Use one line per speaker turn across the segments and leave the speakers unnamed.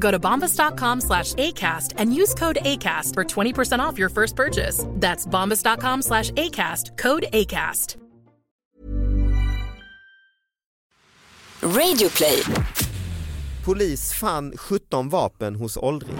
Go to bombas.com slash ACAST and use code ACAST for 20% off your first purchase. That's bombas.com slash ACAST, code ACAST.
Radio play.
Polis fann 17 vapen hos åldring.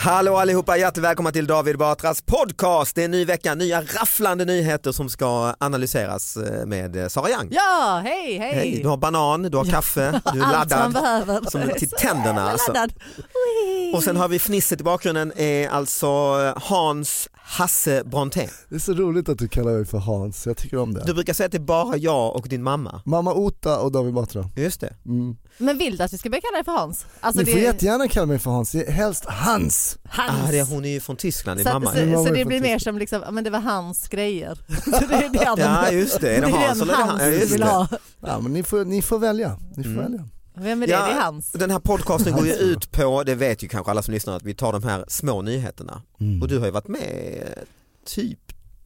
Hallå allihopa, hjärtligt välkomna till David Batras podcast. Det är en ny vecka, nya rafflande nyheter som ska analyseras eh, med eh, Sara Young.
Ja, hej, hej.
Hej, du har banan, du har kaffe, du är
Allt man
laddad
behöver.
som till
Så
tänderna.
jävla
Alltså.
laddad. Ui.
Och sen har vi fnisset i bakgrunden, är alltså Hans Hasse Brontén.
Det är så roligt att du kallar mig för Hans, jag tycker om det.
Du brukar säga att det är bara jag och din mamma.
Mamma Ota och David Batra.
Just det.
Mm.
Men vill du att vi ska börja kalla dig för Hans? Alltså,
Ni får
det-
jättegärna kalla mig för Hans, det är helst Hans.
Ah,
Hans.
det hon är ju från Tyskland, din
så,
mamma.
ju.
så, så det blir
Mamma är
mer som liksom, ja, men det var hans grejer. Så det är det han-
Ja just det, är det
det
Hans
den
eller är det
Hans
han? Ja, just
vill
det.
ha.
Ja, men ni, får, ni får välja. Ni får
Mm.
välja.
Vem är det?
Ja.
Det är hans.
Den här podcasten går ju
Hans, ja.
ut på, det vet ju kanske alla som lyssnar, att vi tar de här små nyheterna.
Mm.
Och du har ju varit med eh, typ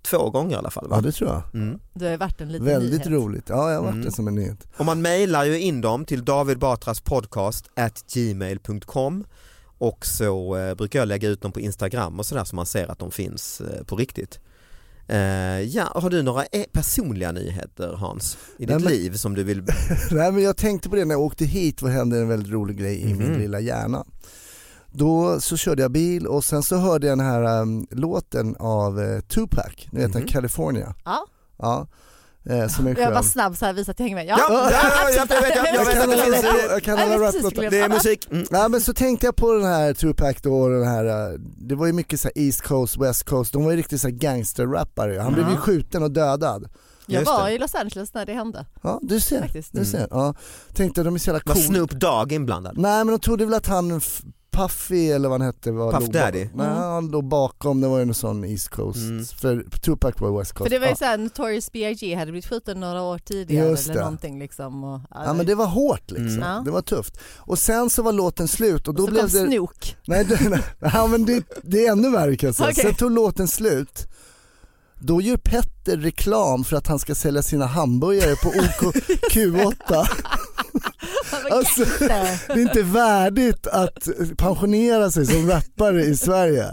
två gånger i alla fall
Ja
va?
det tror jag.
Mm.
Du har ju varit en liten
Väldigt
nyhet.
roligt. Ja, jag har varit
Mm.
det som en nyhet.
Och man mejlar ju in dem till davidbatraspodcast@gmail.com och så eh, brukar jag lägga ut dem på Instagram och sådär så man ser att de finns eh, på riktigt. Eh, ja, har du några eh, personliga nyheter Hans? I ditt
Nej, men-
liv som du vill...
Nej, men jag tänkte på det när jag åkte hit, vad hände en väldigt rolig grej i
Mhm.
min lilla hjärna. Då så körde jag bil och sen så hörde jag den här ehm, låten av eh, Tupac, ni vet den
Mhm.
California.
Ja.
ja. Eh, som är
Jag var
skön.
snabb så här visar att jag hänger med. Ja,
Ja, ja, ja, jag vet, jag vet, jag
Jag
vet
kan
att det
alla
finns...
låtar,
eh,
jag kan
Jag
alla
vet
rap
precis skulle jag
Det är musik. Mm.
Nej men så tänkte jag på den här Tupac då och den här, eh, det var ju mycket så här East Coast, West Coast, de var ju riktigt så här gangsterrappare han blev ju skjuten och dödad.
jag
just
var
det.
i Los Angeles när det hände.
Ja du ser,
Faktiskt. Mm.
du ser. Ja. Tänkte de är så jävla
Var
coola.
Snoop Dogg inblandad?
Nej men de trodde väl att han f- Puffy eller vad han hette var
Puff
låg
Daddy?
Bakom. Nej
Mm.
han låg bakom, det var ju en sån East Coast,
Mm.
för Tupac var West Coast.
För det var ju
ja.
såhär, Notorious B.I.G. hade blivit skjuten några år tidigare
Just
eller
det.
någonting liksom. Och,
ja men det var hårt liksom,
Mm.
Ja.
det var tufft. Och sen så var låten slut och då
så
blev
kom
det...
Snook.
Nej, det, nej. Ja, men det, det är ännu värre kan jag säga.
Okej.
Sen tog låten slut. Då gör Petter reklam för att han ska sälja sina hamburgare på OKQ8.
Han var
Alltså,
jätte-
det är inte värdigt att pensionera sig som rappare i Sverige.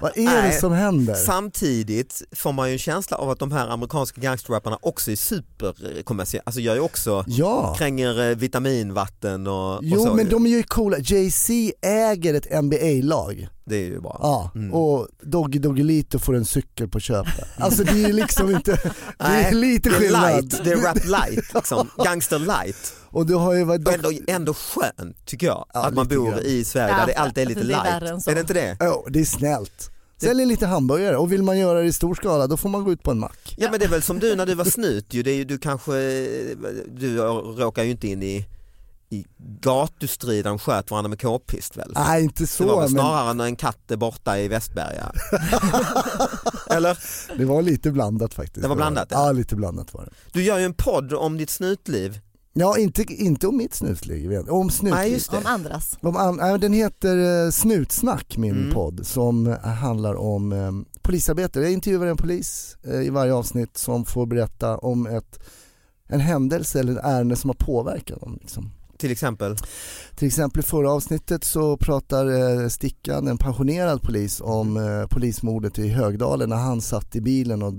Vad är
Nej.
det som händer?
Mm. Samtidigt får man ju en känsla av att de här amerikanska gangsterrapparna också är superkommersiella, alltså gör ju också,
Ja,
kränger eh, vitaminvatten och, och
jo
så.
men
ju.
de är ju coola. Jay-Z äger ett NBA-lag.
Det är ju bra.
Ja,
Mm.
och Doggy Doggelito får en cykel på köpet. Alltså det är liksom inte, det är
Nej,
lite
det är
skillnad.
light, det är rap light, liksom. gangster light.
Och du har ju varit
Och ändå, ändå skönt tycker jag
Ja,
att man
lite
bor
grann.
i Sverige
Ja,
där det alltid är lite
det är värre än
light.
så.
Är det inte det?
Ja, det är snällt. Säljer lite hamburgare och vill man göra det i stor skala då får man gå ut på en mack.
Ja men det är väl som du när du var snut ju, det är ju du kanske, du råkar ju inte in i, i gatustrid där de sköt varandra med k-pist väl?
Nej inte
Det var
så
väl
men
snarare när en katt är borta i Västberga. Eller?
det var lite blandat faktiskt.
Det var blandat, ja.
Ja, lite blandat var det.
Du gör ju en podd om ditt snutliv
Ja, inte, inte om mitt snusligg. vet- Om snutligg.
Nej, just det.
Om andras.
Om an- nej, den heter eh, Snutsnack, min
Mm.
podd, som handlar om eh, polisarbete. Jag intervjuar en polis eh, i varje avsnitt som får berätta om ett, en händelse eller ett ärende som har påverkat dem. Liksom.
Till exempel.
Till exempel i förra avsnittet så pratar eh, Stickan, en pensionerad polis, om eh, polismordet i Högdalen när han satt i bilen och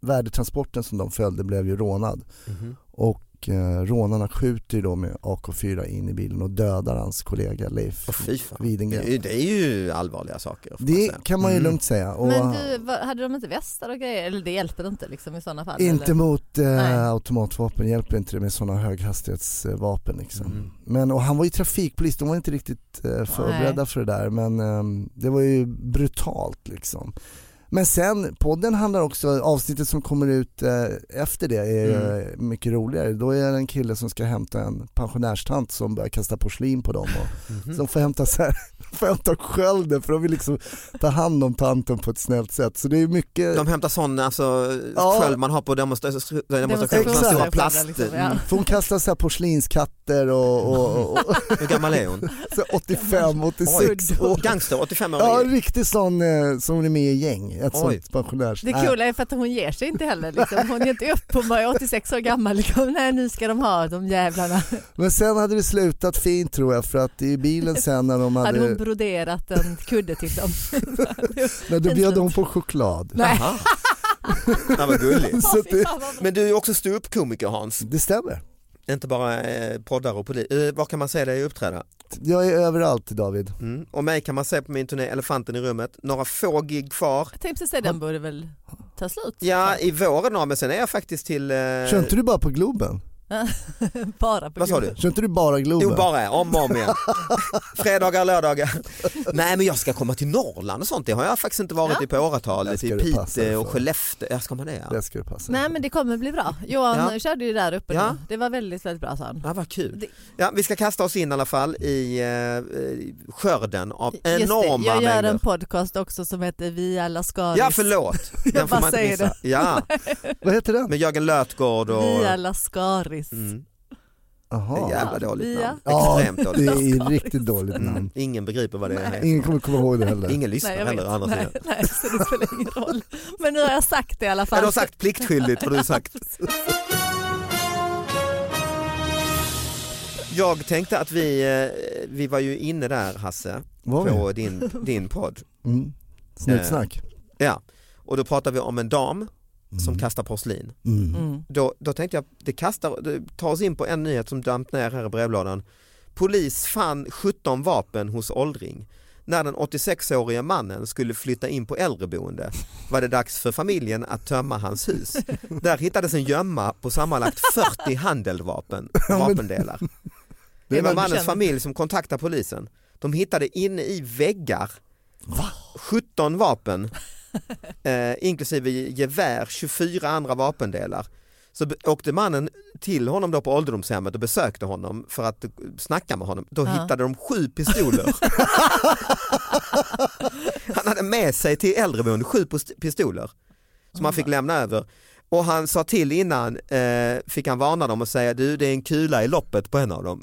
värdetransporten som de följde blev ju rånad.
Mhm.
Och eh, rånarna skjuter ju då med AK4 in i bilen och dödar hans kollega Leif
Åh, fy fan. Det,
Widengren.
är ju- det är ju allvarliga saker. får man
Det
säga.
kan man ju
Mm.
lugnt säga. Och
Men du, vad- hade de inte västar och grejer? Eller det hjälper inte liksom i sådana fall?
inte
eller?
mot
Nej.
eh, automatvapen hjälper inte det med sådana höghastighetsvapen. Liksom.
Mm.
Men, och han var ju trafikpolis, de var inte riktigt eh, förberedda
Nej.
för det där men eh, det var ju brutalt liksom. Men sen, podden handlar också, avsnittet som kommer ut eh, efter det är eh,
Mm.
mycket roligare. Då är det en kille som ska hämta en pensionärstant som börjar kasta porslin på dem. Och,
Mhm.
Så de får hämta, så här, får hämta skölden för de vill liksom ta hand om tanten på ett snällt sätt. Så det är mycket
De hämtar sådana alltså,
Ja.
sköld man har på demonstra- demonstrationer,
Exakt. Mm.
stora plast.
Liksom, ja.
För hon kastar så här porslinskatter och, och, och, och
Hur gammal är hon?
så 85, 86
Oj,
år.
Gangster, 85 år.
Ja, en riktig sån eh, som är med i gäng, ett
Oj.
sånt pensionärs...
Det coola är för att hon ger sig inte heller. Liksom. Hon ger inte upp. Hon bara är 86 år gammal. Liksom. Nej, nu ska de ha de jävlarna.
Men sen hade det slutat fint tror jag för att i bilen sen när de
Hade hon
hade...
broderat en kudde till dem?
När du bjöd hon på choklad.
Nej.
Jaha. Nej, vad gulligt.
Så
Fy
det,
fan, vad bra.
Men du är också ståuppkomiker Hans,
det stämmer.
inte bara eh, poddar och polis. Eh, vad kan man säga dig uppträda?
Jag är överallt David.
Mm. Och mig kan man se på min turné Elefanten i rummet, några få gig kvar.
Jag tänkte precis säga den borde väl ta slut.
Ja, i våren då, men sen är jag faktiskt till... Eh,
Kör inte du bara på Globen?
Bara på
Vad sa
grund-
du?
Kör inte du bara Globen?
Jo, bara om och om igen. Fredagar, lördagar. Nej, men jag ska komma till Norrland och sånt. Det har jag faktiskt inte varit i på
Där
åratal.
ska
Till
du passa dig
Piteå och
för.
Skellefteå. Ja, ska man det? Ja,
Det ska du passa.
Nej men det kommer bli bra. Johan
Ja.
körde ju där uppe
Ja.
nu. Det var väldigt, väldigt bra sa han.
ja vad kul.
Det-
Ja, vi ska kasta oss in i alla fall i eh, eh, skörden av
Just det,
enorma
Jag gör en
mängder.
podcast också som heter Vi alla Skaris.
Ja, förlåt. Den får
bara
man inte
säger
missa. Ja,
Vad heter den?
med Jörgen Lötgård och...
Vi alla Skaris.
Mm.
Jaha.
Jävla dåligt
Via.
namn.
Ja,
Extremt
det
dåligt namn.
är riktigt dåligt
Mm.
namn.
Ingen begriper vad det är.
Ingen kommer komma ihåg det heller.
Ingen
Nej,
lyssnar
jag
heller å andra
vet. Nej,
sidan.
nej, så det spelar ingen roll. Men nu har jag sagt det i alla fall.
Ja, du har sagt pliktskyldigt har du sagt. Jag tänkte att vi, eh, vi var ju inne där Hasse,
Var vi?
på din, din podd.
Mm. Snutsnack.
Eh. Ja. Och då pratade vi om en dam som
Mm.
kastar porslin.
Mm.
Mm.
Då, då tänkte jag, det kastar, det tar oss in på en nyhet som damp ner här i brevlådan. Polis fann 17 vapen hos åldring. När den 86-årige mannen skulle flytta in på äldreboende var det dags för familjen att tömma hans hus. Där hittades en gömma på sammanlagt 40 handeldvapen, vapendelar. Det var mannens familj som kontaktade polisen. De hittade inne i väggar 17 vapen, eh, inklusive gevär, 24 andra vapendelar. Så be- åkte mannen till honom då på ålderdomshemmet och besökte honom för att eh, snacka med honom. Då
Ja.
hittade de sju pistoler. Han hade med sig till äldreboende sju pos- pistoler som han fick lämna över. Och han sa till innan, eh, fick han varna dem och säga du det är en kula i loppet på en av dem.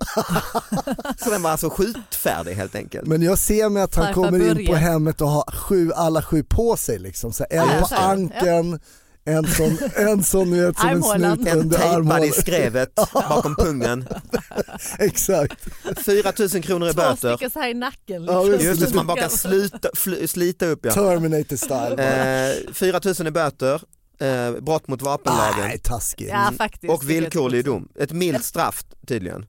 Så den var alltså skjutfärdig helt enkelt.
Men jag ser med att han
Farfar
kommer in
Börje.
på hemmet och har sju, alla sju på sig liksom. Så här, en
Ja,
på
så är det.
ankeln, en som, en som, ni vet, som en
Armhålan.
snut
En
under
tejpad i
armhålan.
skrevet bakom pungen.
Exakt.
4 000 kronor i
Två
böter.
stycken så här i nacken.
Ja,
liksom.
Just det, som man bara kan slita, fly, slita upp ja.
Terminator style.
Eh, 4 000 i böter, eh, brott mot vapenlagen
Nej, taskigt.
Ja, faktiskt.
och villkorlig dom. Ett milt straff tydligen.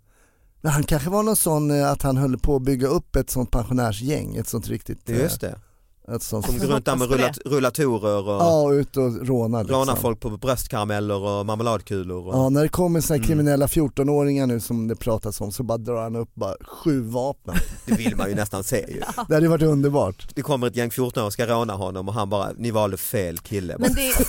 Men han kanske var någon sån eh, att han höll på att bygga upp ett sånt pensionärsgäng, ett sånt riktigt... eh,
Just det.
Ett sånt,
Som går runt där med
Hoppas på
rullat, rullatorer och
ja, ut och råna liksom.
rånar folk på bröstkarameller och marmeladkulor. Och...
Ja, när det kommer såna här
Mm.
kriminella 14-åringar nu som det pratas om så bara drar han upp bara sju vapen.
Det vill man ju nästan se ju.
Det hade ju varit underbart.
Det kommer ett gäng 14 och ska råna honom och han bara, ni valde fel kille.
Men det,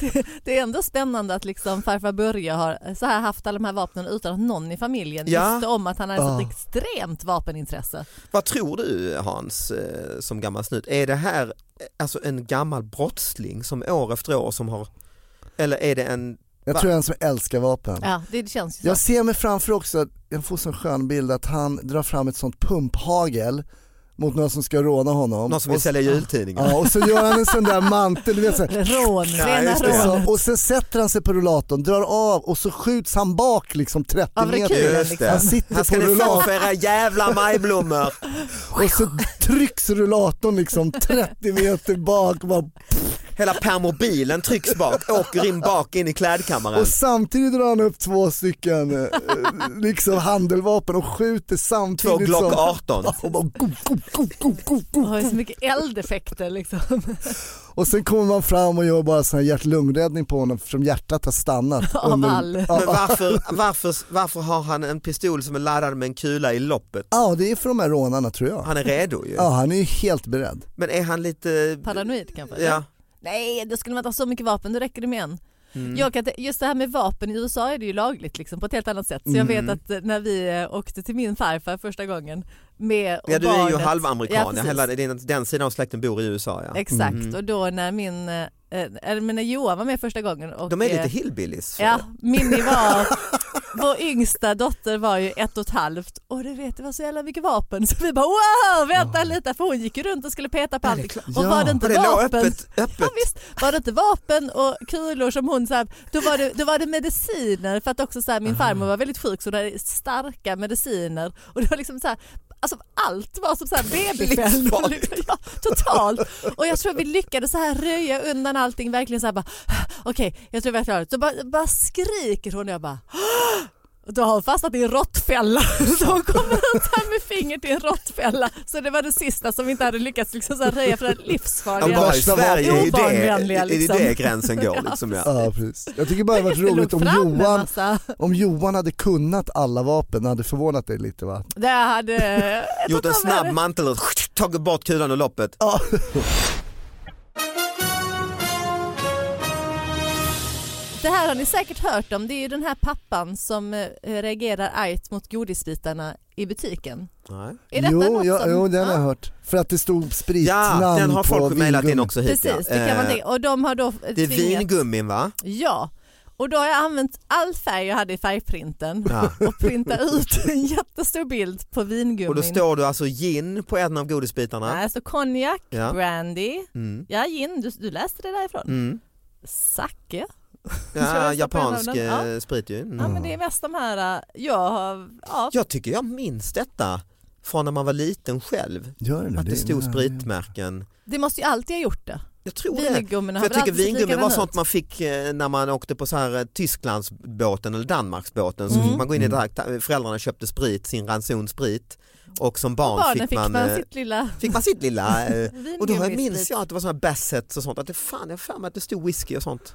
det, det är ändå spännande att liksom farfar Börje har så här haft alla de här vapnen utan att någon i familjen
Ja.
visste om att han hade
Ah.
ett extremt vapenintresse.
Vad tror du Hans, eh, som gammal snut, är det här eh, alltså en gammal brottsling som år efter år som har, eller är det en
Jag
Va?
tror jag är en som älskar vapen.
Ja, det känns ju så.
Jag ser mig framför också, att- jag får en sån skön bild att han drar fram ett sånt pumphagel mot några som ska råna honom.
Någon som
Och
vill
s-
sälja jultidningar.
Ja, och så gör han en sån där mantel, du vet så här,
Rån, rena
just det.
rån.
så, och sen sätter han sig på rullatorn, drar av och så skjuts han bak liksom 30
Av rekylen,
meter.
Just det.
Han sitter
Här ska
på
ni få
rullatorn
för era jävla majblommor.
och så trycks rullatorn liksom 30 meter bak. Bara,
Hela permobilen trycks bak, åker in bak in i klädkammaren.
och samtidigt drar han upp två stycken eh, liksom handelvapen och skjuter
Två
samtidigt
Glock
som...
18.
Och, bara, go, go, go, go, go,
Det
go.
har ju så mycket eldeffekter liksom.
och sen kommer man fram och gör bara sån här hjärt-lungräddning på honom eftersom hjärtat har stannat.
Av
under-
all.
Ja,
Men varför, varför, varför har han en pistol som är laddad med en kula i loppet?
ja, det är för de här rånarna tror jag.
Han är redo ju.
Ja, han är ju helt beredd.
Men är han lite...
Paranoid kanske?
Ja.
Nej, då skulle man inte ha så mycket vapen, då räcker det med en.
Mm.
Jag kan, inte- just det här med vapen, i USA är det ju lagligt liksom, på ett helt annat sätt. Så jag
Mm.
vet att eh, när vi eh, åkte till min farfar första gången med och
Ja du är ju
barnet- Ja,
halvamerikan, ja,
precis.
hela Mm. den, den sidan av släkten bor i USA ja.
Exakt, och då när min, eh, eh, men när Johan var med första gången. Och,
De är lite
eh,
hillbillies.
Ja, Minni var, vår yngsta dotter var ju ett och ett halvt och du vet det var så jävla mycket vapen så vi bara wow, vänta lite för hon gick ju runt och skulle peta på allt och
Ja,
var det inte
Och det låg
vapen
öppet, öppet.
Ja, visst, var det inte vapen och kulor som hon så här, då, var det, då var det mediciner för att också så här, min farmor var väldigt sjuk så hon hade starka mediciner och det var liksom så här, alltså allt var som så här babyfällor.
Livsfarligt.
liksom. Ja, totalt. Och jag tror vi lyckades så här röja undan allting verkligen så här bara okej jag tror vi har klarat det. Så bara, bara skriker hon och jag bara och då har hon fastnat i en råttfälla. Så hon kommer ut här med fingret i en råttfälla. Så det var det sista som vi inte hade lyckats liksom så här röja för den
Ja,
livsfarliga.
bara i
värsta
Sverige är ju det,
Obarnvänliga,
är det
liksom.
där gränsen går
Ja,
liksom ja.
Ja, precis. Jag tycker bara det varit
Det låg
roligt om
fram en
Johan,
massa.
om Johan hade kunnat alla vapen, det hade förvånat dig lite va?
Det hade... jag
Gjort
tror
en
att de hade-
snabb mantel, tagit bort kulan och loppet.
Det här har ni säkert hört om. Det är ju den här pappan som eh, reagerar argt mot godisbitarna i butiken.
Nej.
Är detta
jo,
något
ja,
som...
jo, den har jag
Ja,
hört. För att det stod spritnamn
Ja, den har
på
folk mejlat in
vingummin.
också hit.
Precis,
ja.
det kan man
Eh,
tänka. Och de har då eh,
Det är
tvingat-
vingummin va?
Ja, och då har jag använt all färg jag hade i färgprinten
Ja.
och printat ut en jättestor bild på vingummin.
Och då står du alltså gin på en av godisbitarna.
Nej, så konjak,
Ja.
brandy,
Mm.
ja gin, du, du läste det därifrån.
Mm.
Sake. Ska
Ja,
jag stoppa en av
japansk
dem? Ja.
eh, sprit ju. Mm.
Ja men det är mest de här, äh, jag har, ja.
Jag tycker jag minns detta från när man var liten själv.
Gör det,
Att det stod
är-
spritmärken.
det måste ju alltid ha gjort det.
Jag tror det.
Vingummina
För jag
har väl
tycker
alltid sett
vingummi var
likadana
sånt
ut.
man fick eh, när man åkte på så här eh, Tysklandsbåten eller Danmarksbåten
Mm.
så fick man gå in i det här, ta- eh, föräldrarna köpte sprit, sin ranson sprit och som barn
Barnen
fick, man, eh,
sitt lilla
fick man sitt lilla eh, och då har jag- minns
vingummisprit.
jag att det var såna här bassets och sånt, att det fan jag har för mig att det stod whisky och sånt.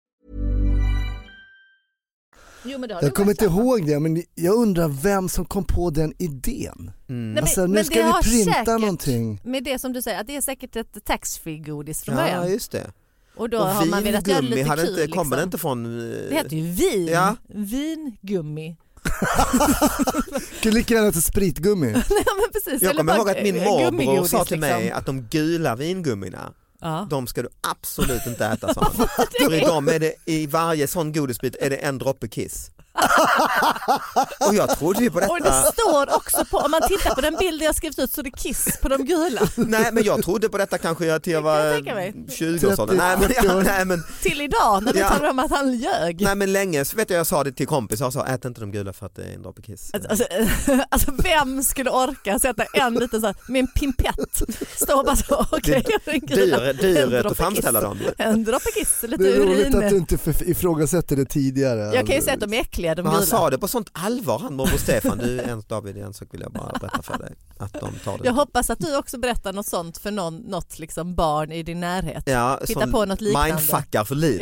Jo, men det har du
Jag kommer inte
verkligen.
ihåg det men jag undrar vem som kom på den idén.
Nej, men-
Alltså, nu
men
ska
det
vi
har
printa
säkert,
någonting.
Med det som du säger, att det är säkert ett taxfree-godis från
Ja,
början.
just det.
Och då
och
har man velat göra
vingummi
lite
hade
kul.
inte,
liksom.
kommer det inte från... eh,
Det heter ju vin.
Ja.
Vingummi.
Kan lika gärna heta spritgummi.
Nej, men precis.
Jag
Eller
kommer
bara
ihåg att min
gu-
morbror
gummigodis,
sa till mig
liksom.
att de gula vingummina,
Ja.
de ska du absolut inte äta sa han. För i dem är det, i varje sån godisbit är det en droppe kiss. Och jag trodde ju på
Och det
detta.
står också på, om man tittar på den bilden jag skrivit ut så är det kiss på de gula.
Nej men jag trodde på detta kanske jag till jag
kan jag
var
tänka mig.
20 och sådant. Nej men,
30 år.
nej, men,
Till idag när vi
Ja.
talar om att han ljög.
nej men länge så vet jag jag sa det till kompisar och sa ät inte de gula för att det är en droppe kiss.
Alltså, alltså vem skulle orka sätta en liten så här, med en pimpett? Stå och bara så, okej. Okay,
Dyr, dyrhet att framställa dem. ju.
En droppe kiss, lite
Det är roligt att du
urin.
inte för- ifrågasätter det tidigare.
Jag kan ju säga att de är äckliga de
Men han
gula.
sa det på sånt allvar han morbror Stefan. Du en, David en sak vill jag bara berätta för dig. Att de tar det.
Jag hoppas att du också berättar något sånt för någon, något liksom barn i din närhet.
Ja,
Hitta
sån
på något liknande.
Mindfuckar för livet.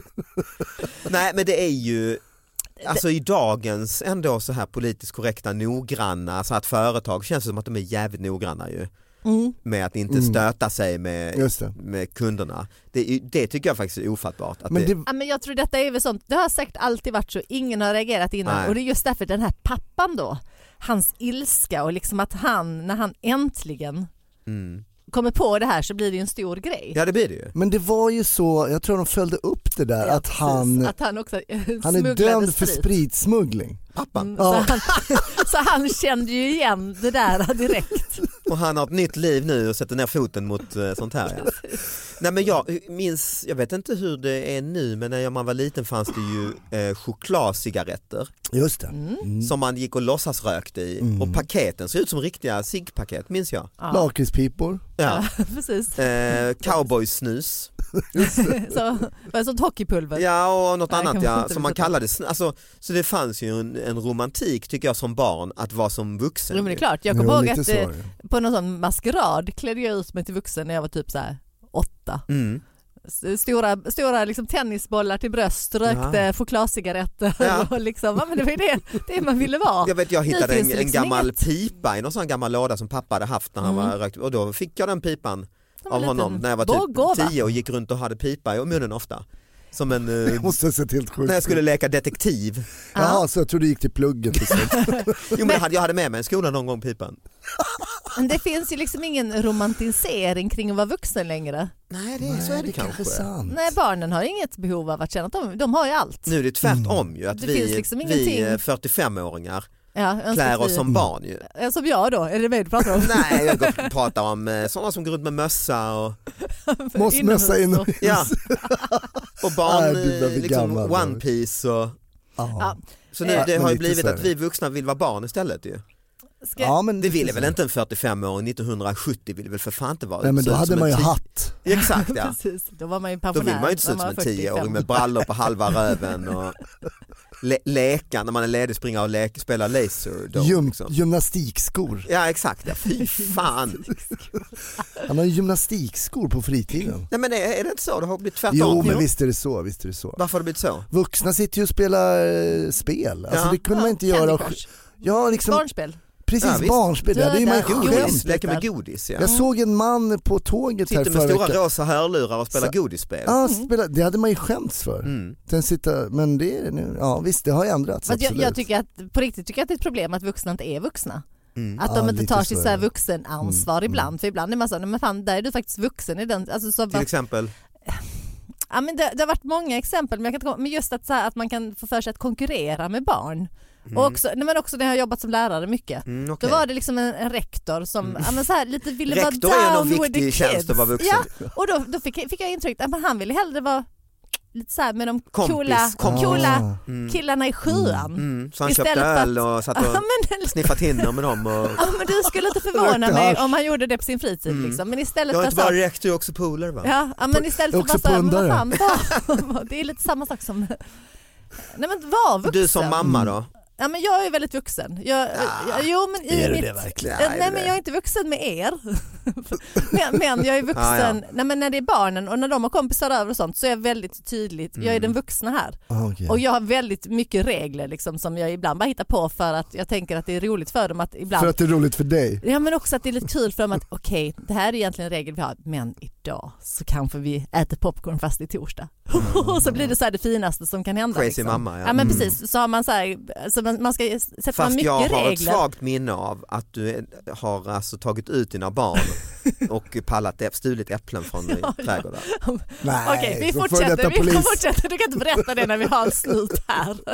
Nej men det är ju Alltså i dagens ändå så här politiskt korrekta noggranna, så att företag känns det som att de är jävligt noggranna ju
Mm.
med att inte
Mm.
stöta sig med,
Just det.
med kunderna. Det, är ju- det tycker jag faktiskt är ofattbart. Att
Men
det,
det,
Ja, men jag tror detta är väl sånt, det har säkert alltid varit så, ingen har reagerat innan
Nej.
och det är just därför den här pappan då, hans ilska och liksom att han, när han äntligen
mm.
kommer på det här så blir det ju en stor grej.
Ja det blir det ju.
men det var ju så, jag tror de följde upp det där,
Ja,
att
precis.
han,
att han, också Mm,
han är dömd för spritsmuggling.
Pappan.
Så,
Ja.
han, så han kände ju igen det där direkt.
Och han har ett nytt liv nu och sätter ner foten mot eh, sånt här. Ja. Nej, men jag minns, jag vet inte hur det är nu men när man var liten fanns det ju eh, chokladcigaretter
Just det.
Mm.
som man gick och låtsas rökte i och paketen såg ut som riktiga ciggpaket minns jag.
Lakritspipor.
Ja.
Precis.
Eh, cowboysnus
Så, det var ett sånt hockeypulver.
ja, och något
Nej,
annat
kan man
ja,
inte
som man
veta.
kallade snus. Alltså, så det fanns ju en, en romantik tycker jag som barn att vara som vuxen.
Jo, men det är
ju.
klart. Jag
Jo,
kommer ihåg
lite
att
så
eh,
är det.
på någon sån maskerad klädde jag ut mig till vuxen när jag var typ så här åtta.
Mm.
S- Stora, stora liksom tennisbollar till bröst, rökte
Ja.
chokladcigaretter
Ja.
och liksom, ja, men det var ju det, det man ville vara.
Jag vet jag hittade
Nu
en,
finns det
en
liksom
gammal
inget.
pipa i någon sån gammal låda som pappa hade haft när han
Mm.
var rökt och då fick jag den pipan
Som en
av honom
liten
när jag var typ
begåva.
tio och gick runt och hade pipa i munnen ofta. Som en, eh,
Det måste ha sett helt sjukt
när jag skulle
ut.
leka detektiv.
Jaha, så jag trodde det gick till pluggen. och sånt.
Jo men jag hade, jag hade med mig en skola någon gång pipan.
Men det finns ju liksom ingen romantisering kring att vara vuxen längre.
Nej det är, så är det kanske.
sant.
Nej, barnen har inget behov av att känna att de, de har ju allt.
Nu är det
Mm.
tvärtom ju att
Det
vi,
finns liksom
vi
ingenting.
eh, 45-åringar
Ja, önskar att
klär oss
vi-
som barn ju.
Ja, Som jag då, är det mig du pratar om?
Nej jag går och pratar om eh, sådana som går runt med mössa och,
Måste mössa in och...
ja. och barn
Nej, du börjar
eh,
bli
liksom
gammal,
one piece och
Ja.
Så nu,
Ja,
det
men
har ju
lite
blivit
så är
att
det. Mm,
vi vuxna vill vara barn istället ju.
Ska,
ja, men
Det ville väl inte en 45-åring 1970 ville väl för fan inte vara
Nej men
se
då
ut
hade
som
man
en
ju
ti-
hatt.
Exakt ja.
Precis, då var man ju
Då
pensionär.
vill man ju inte se ut
när
som en
var
10-åring
45.
med brallor på halva röven och le leka när man är ledig springa och leka, spela laser. Då,
Gym,
liksom.
Gymnastikskor.
Ja exakt, ja. fy fan.
Han har ju gymnastikskor på fritiden.
Nej men är, är det inte så? Det har blivit tvärtom.
Jo men visst är det så, visst är det så.
Varför har det blivit så?
Vuxna sitter ju och spelar eh, spel, alltså
Ja.
det kunde man inte
Candy
göra.
Crush.
Ja, liksom,
Barnspel.
Ja,
precis
visst.
barnspel, det hade ju man
Döda
skämt.
Godis, leka med godis ja.
Jag såg en man på tåget här
Sitter med
förra
stora
veckan.
rosa hörlurar och spelar
Så-
godisspel.
Ja,
Mm.
spela, det hade man ju skämts för.
Mm.
Den sitter, men det är det nu. Ja visst, det har ju ändrats
Fast jag,
absolut.
jag tycker att, på riktigt tycker jag att det är ett problem att vuxna inte är vuxna.
Mm.
Att
Ja,
de inte
lite
tar
så
sitt
är
så här
det.
vuxenansvar ibland. För ibland är man så, nej men fan där är du faktiskt vuxen i den. Alltså, så
Till
bara,
exempel.
ja, men det, det har varit många exempel men, jag kan inte komma, men just att, så här, att man kan få för sig att konkurrera med barn. Och också, nej, men också när jag har jobbat som lärare mycket.
Mm,
Då
okej. Mm.
var det liksom en, en rektor som ja, men så här, lite ville vara
Rektor är
down
någon
with the
viktig
kids.
tjänst att vara vuxen.
Ja, och då, då fick, fick jag intrycket att men han ville hellre vara lite så här med de
Kompis,
coola,
kompis.
coola
Mm.
killarna i sjuan.
Mm, så han
Istället
köpte
för att-
öl och satt
Ja,
och
men,
sniffat hinder med dem. Och...
ja, men du skulle inte förvåna
Rökte
mig
hasch.
om han gjorde det på sin fritid. Liksom. Men istället
Mm. Jag är
för
inte
så-
bara rektor, jag är också polare va?
Ja, ja, men istället
Jag
för
är också
bara så här, men vad
pundare.
fan, var, det är lite samma sak som... Nej men var vuxen.
Du som mamma då?
Ja, men jag är väldigt vuxen. Jag, jag, jo, men i
Är du
mitt,
det verkligen?
Eh,
Nej,
Nej
det-
men jag är inte vuxen med er. men, men jag är vuxen,
Ah, ja.
Nej, men när det är barnen och när de har kompisar över och sånt så är jag väldigt tydligt, jag är
Mm.
den vuxna här.
Ah, okej.
Och jag har väldigt mycket regler liksom, som jag ibland bara hittar på för att jag tänker att det är roligt för dem att ibland
För att det är roligt för dig.
Ja men också att det är lite kul för dem att okej det här är egentligen en regel vi har men idag så kanske vi äter popcorn fast det är torsdag. Och så blir det så här det finaste som kan hända.
Crazy
liksom.
mamma, ja. Mm.
ja. men precis så har man så här, så man, man ska sätta
Fast
mycket
jag har ett
regler.
svagt minne av att du är- har alltså tagit ut dina barn och pallat, äpp- stulit äpplen från
Ja, ja.
trädgårdar.
Nej,
Okej, vi
som före detta
fortsätter. Vi
polis.
kan fortsätta. Du kan inte berätta det när vi har slut här.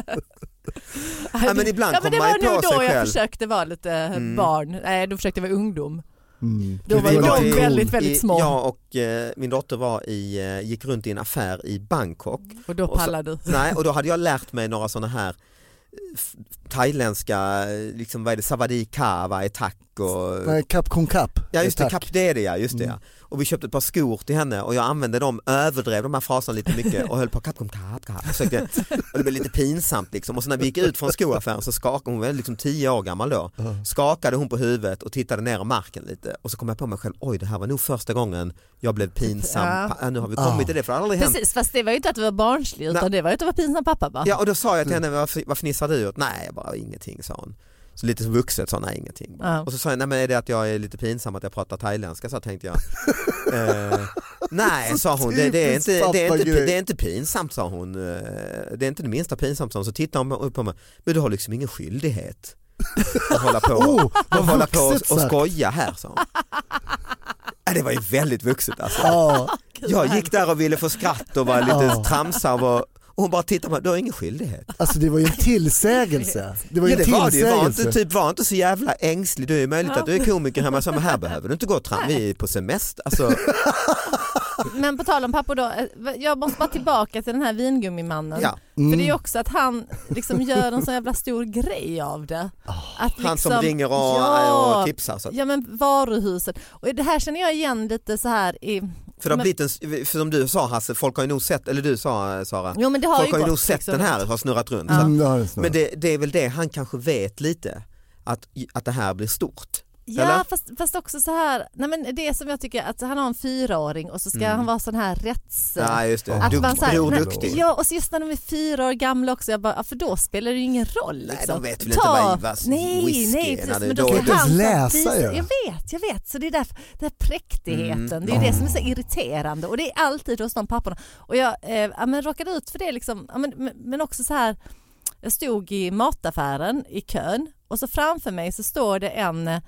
Ja, men ibland
ja, men det
kommer man ju
var
på
nog då
sig
jag
själv. Mm.
försökte vara lite barn. Nej, då försökte jag vara ungdom.
Mm.
Då var
Vi
ju
lite
de
i-
väldigt, väldigt
i-
små.
Jag och eh, min dotter var i, eh, gick runt i en affär i Bangkok.
Och då
och så-
pallade du.
Nej, och då hade jag lärt mig några sådana här eh, f- thailändska, eh, liksom vad är det, savadi ka, vad är tack och...
Nej, Cap con Cap.
Ja just det,
Tack.
kap, det är det ja, just det ja. Och vi köpte ett par skor till henne och jag använde dem, överdrev de här fraserna lite mycket och höll på kap, kap, kap, kap. Försökte, och det blev lite pinsamt liksom. Och så när vi gick ut från skoaffären så skakade hon, var liksom tio år gammal då, skakade hon på huvudet och tittade ner i marken lite och så kom jag på mig själv, oj det här var nog första gången jag blev pinsam,
Ja.
Pa- ja. nu har vi kommit till det för det har aldrig hänt.
Precis, fast det var ju inte att du var barnslig utan
Nej.
det var ju att du var pinsam pappa va?
Ja och då sa jag
Mm.
till henne, vad, vad fnissar du åt? Nej, jag bara ingenting sa hon. Så lite som vuxet sa hon, nej ingenting.
Ja.
Och så sa jag, nej men är det att jag är lite pinsam att jag pratar thailändska så tänkte jag. eh, nej sa hon, det, det, är
Typiskt
inte, det, är inte,
pappagrej.
det är inte pinsamt sa hon. Eh, Det är inte det minsta pinsamt sa hon. Så tittade hon upp på mig, men du har liksom ingen skyldighet att hålla på,
Oh, vad
att hålla på och,
vuxet
och
sagt.
skoja här sa hon. Ja, Det var ju väldigt vuxet alltså.
Ja,
Jag gick där och ville få skratt och var lite
Ja.
tramsig och var- och hon bara tittade på mig, du har ingen skyldighet.
alltså det var ju en tillsägelse. Det var ju
Ja,
en
det var det.
tillsägelse.
Var inte, typ, var inte så jävla ängslig. Det är möjligt
Ja.
att du är komiker hemma, så, men här behöver du inte gå fram. Vi är på semester. Alltså,
Men på tal om pappor då, eh, jag måste bara tillbaka till den här vingummimannen.
ja. Mm.
För det är ju också att han liksom gör en så jävla stor grej av det. Att
Ah, Han som
liksom-
ringer och,
ja,
och tipsar. Så att,
Ja men varuhusen. Och det här känner jag igen lite så här i...
för, det har
men-
blivit en, för som du sa Hasse, folk har ju nog sett, eller du sa eh, Sara,
Jo men det har
folk
ju
har ju
gått,
nog sett
liksom.
den här, har snurrat runt. Så att,
Mm, det har det snarare.
men det, det är väl det han kanske vet lite, att, att det här blir stort.
Ja
eller?
fast, fast också så här, nej men det som jag tycker att han har en fyraåring och så ska
Mm.
han vara sån här rätts...
Ja, just det.
Att
Dukt-
man så här-
bror
nej,
duktig.
Ja och så just när de är fyra år gamla också, jag bara, ja, för då spelar det ju ingen roll.
Nej,
Liksom.
de vet väl inte vad Ivas
nej,
whisky
nej,
är
precis,
när det
men
är
då
dåligt.
ska
Man kan inte ens
han så att
läsa
visa-
ju.
Jag vet, jag vet. Så det är därför, den här präktigheten, det är ju det som är så irriterande och det är alltid hos de papporna. Och jag eh, ja, men råkade ut för det liksom, ja, men, men- men också så här, jag stod i mataffären i kön och så framför mig så står det en eh,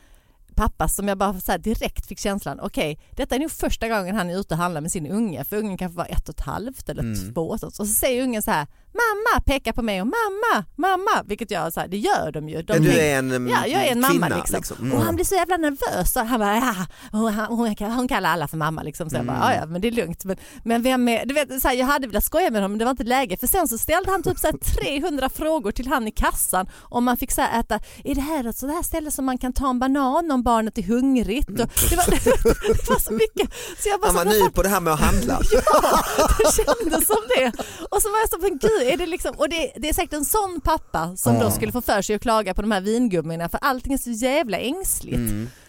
pappa som jag bara så här direkt fick känslan, okej detta är nog första gången han är ute och handlar med sin unge för ungen kanske var ett och ett halvt eller
Mm.
två och så, och så säger ungen så här mamma pekar på mig och mamma, mamma vilket jag så här, det gör de ju. De
Ja, du
tänker-
är en mm,
Ja, jag är en
kvinna,
mamma liksom.
Mm.
Och han blir så jävla nervös. Så han bara, ja, hon, hon, hon kallar alla för mamma liksom. Så jag bara,
Mm.
ja, ja, men det är lugnt. Men, men vem är, du vet, så här, jag hade velat skoja med honom men det var inte läge. För sen så ställde han typ så här 300 frågor till han i kassan om man fick så här äta, är det här ett sådant här ställe som man kan ta en banan om barnet är hungrigt? Och det, var, det var så mycket. Så jag bara,
Mm. Han
så
var
här,
ny på det här med att handla.
Ja, det kändes som det. Och så var jag så, men gud, är det liksom, och det, det är säkert en sån pappa som då skulle få för sig att klaga på de här vingummorna för allting är så jävla ängsligt.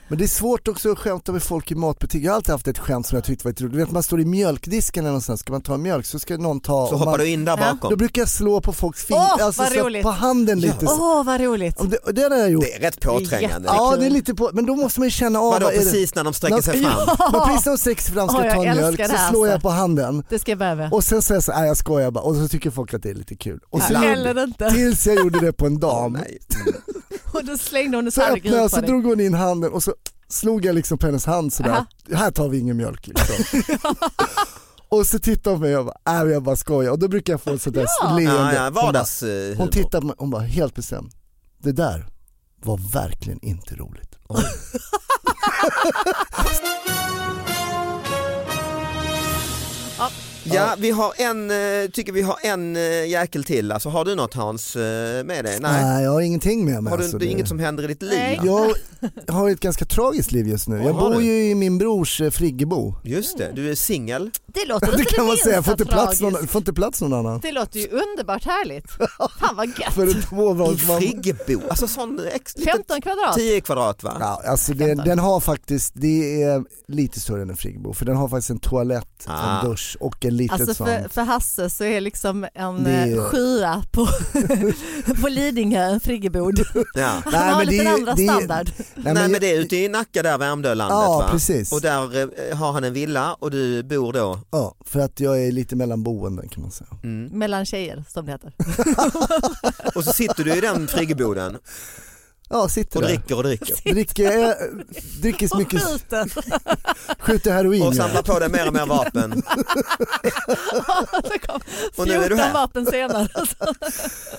Men det är svårt också att skämta med folk i matbutiker. Jag har alltid haft ett skämt som jag tyckte var lite roligt. Du vet man står i mjölkdisken eller någonstans, ska man ta mjölk så ska någon ta...
Så
och
hoppar
man,
du in där
Då
bakom.
brukar jag slå på folks fingrar,
Åh,
alltså
vad
så
roligt.
på handen lite.
Åh,
Så.
vad roligt.
Om Det, och det har jag gjort.
Det är rätt påträngande. liksom.
är
Ja
kul.
det är lite på, men då måste man ju känna av.
Vadå
vad är det-
precis när de sträcker sig
Ja.
fram?
Men precis när de sträcker sig fram ska
Åh, jag
ta en
älskar
mjölk
det
så
här,
slår jag
alltså.
på handen.
Det ska jag börja med.
Och sen säger jag så här, "Nej, jag skojar bara och så tycker folk att det är lite kul. Och så
Eller inte.
tills jag gjorde det på en dam.
Nej.
Och då slängde hon en
Så
tallrik
öppnade jag,
ut på
så
dig.
drog hon in handen och så slog jag liksom på hennes hand sådär.
Aha.
Här tar vi ingen mjölk liksom. och så tittar hon på mig och jag bara, äh, jag bara skojar. Och då brukar jag få ett sånt där
Ja.
leende.
Ja, ja,
Hon bara-
vardags, eh,
Hon
humor.
tittar på mig hon bara, helt bestämd. Det där var verkligen inte roligt.
Ja, vi har en, eh, tycker vi har en eh, jäkel till. Alltså, har du något Hans eh, med dig? Nej.
jag har ingenting med mig.
Har du,
alltså,
det är inget som händer i ditt liv?
Nej.
va?
Jag har ett ganska tragiskt liv just nu.
Vad
Jag
har
bor
du?
ju i min brors eh, friggebo.
Just det, du är singel.
Det låter
Det
inte
kan man säga, jag får
minsta
inte plats någon,
tragiskt.
får inte plats någon annan.
Det låter ju underbart härligt. Fan vad gött.
För ett
I
tvåbarnsmamma.
Friggebo, alltså sån ex, lite
15 kvadrat.
10 kvadrat va?
Ja, alltså den, den har faktiskt, det är lite större än en friggebo för den har faktiskt en toalett,
Ah.
en dusch och en litet
Alltså för,
sånt.
för Hasse så är liksom en
Det är-
eh, sjua på, på Lidingö en friggebod.
Ja.
Han har lite
ju-
andra
det är-
standard.
Nej
Nej, men,
men det är ute i Nacka där, Värmdölandet
Ja,
va?
precis.
Och där eh, har han en villa och du bor då?
ja, för att jag är lite mellan boenden kan man säga.
Mm.
Mm.
Mellan tjejer som det heter.
Och så sitter du i den friggeboden
Ja, sitter
Och
där.
dricker och dricker.
Dricker, eh, dricker så
Och
mycket,
skiten.
skjuter heroin.
Och
ja.
samlar på dig mer och mer vapen.
Det kom
Och nu är du
14
här.
vapen senare.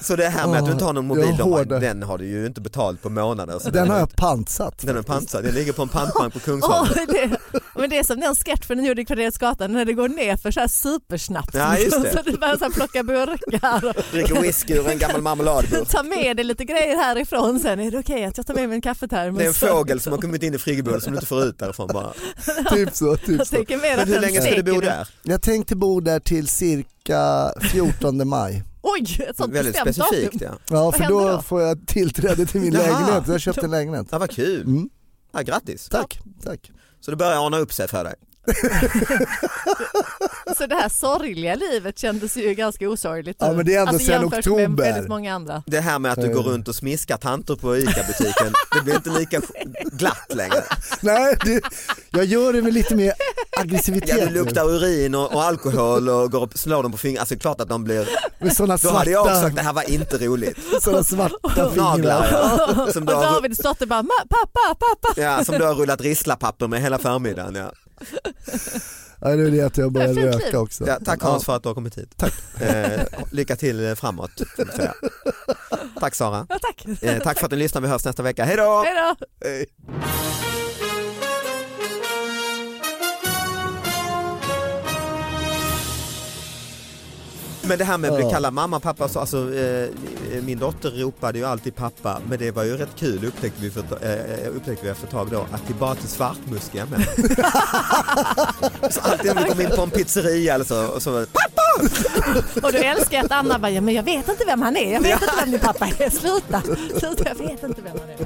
Så det här med att du inte har någon mobil,
Jag
de har,
hårdar.
den har du ju inte betalt på månader. Så
Den
är-
har jag pantsatt.
den är pansad, den ligger på en pantbank på
Åh,
Kungsholmen.
det, men det är som den sketchen den gjorde i Kvarterets gatan när det går ner för så här supersnabbt.
Ja, just det.
Så du börjar så här plocka burkar.
Dricker whisky ur en gammal marmeladburk.
Ta med dig lite grejer härifrån sen. Är det okej att jag tar med mig en kaffetermos?
Det är en fågel som har kommit in i friggeboden som du inte får ut därifrån bara.
typ så, typ
Jag
så.
tänker mer
Men
att
hur
den
länge ska du bo
steker.
där?
Jag tänkte bo där till cirka 14 maj.
Oj, ett sånt
Väldigt
bestämt
specifikt
datum.
ja.
Ja, för
händer
då,
då?
får jag tillträde till min
Jaha.
lägenhet. Jag har köpt en lägenhet.
Ja, vad kul.
Mm.
Ja, grattis.
Tack, tack.
Så det börjar ordna upp sig för dig.
Så det här sorgliga livet kändes ju ganska osorgligt.
Ja, men det är ändå
alltså,
sen
jämfört med
oktober.
väldigt många andra.
Det här med att
Eh.
du går runt och smiskar tanter på ICA-butiken, det blir inte lika glatt längre.
Nej, det, jag gör det med lite mer aggressivitet.
Ja, du
nu.
luktar urin och, och alkohol och går och slår dem på fingrarna. Alltså det är klart att de blir...
Med sådana
Då hade jag också sagt det
svarta,
här var inte roligt.
såna svarta
Naglar
fingrar.
ja. Som
Och
du har,
Davids dotter bara, "Ma- pappa, pappa.
ja, som du har rullat risslapapper med hela förmiddagen. Ja.
Ja, det är det att jag börjar
Fult liv.
röka också.
Ja, tack Hans för att du har kommit hit. Tack. Eh, lycka till framåt. får jag säga. Tack Sara.
Ja, tack.
Eh, tack för att ni lyssnade. Vi hörs nästa vecka. Hej då!
Hej då.
Men det här med att bli
Ja.
kallad mamma och pappa, så, alltså, eh, min dotter ropade ju alltid pappa, men det var ju rätt kul upptäckte vi, för, ett- eh, upptäckte vi efter ett tag då, att det är bara till svartmuskiga män. så alltid när vi kom in på en pizzeria eller så, och så
Och du älskar jag att Anna bara, ja, men jag vet inte vem han är, jag vet inte vem din pappa är, sluta, sluta, jag vet inte vem han är.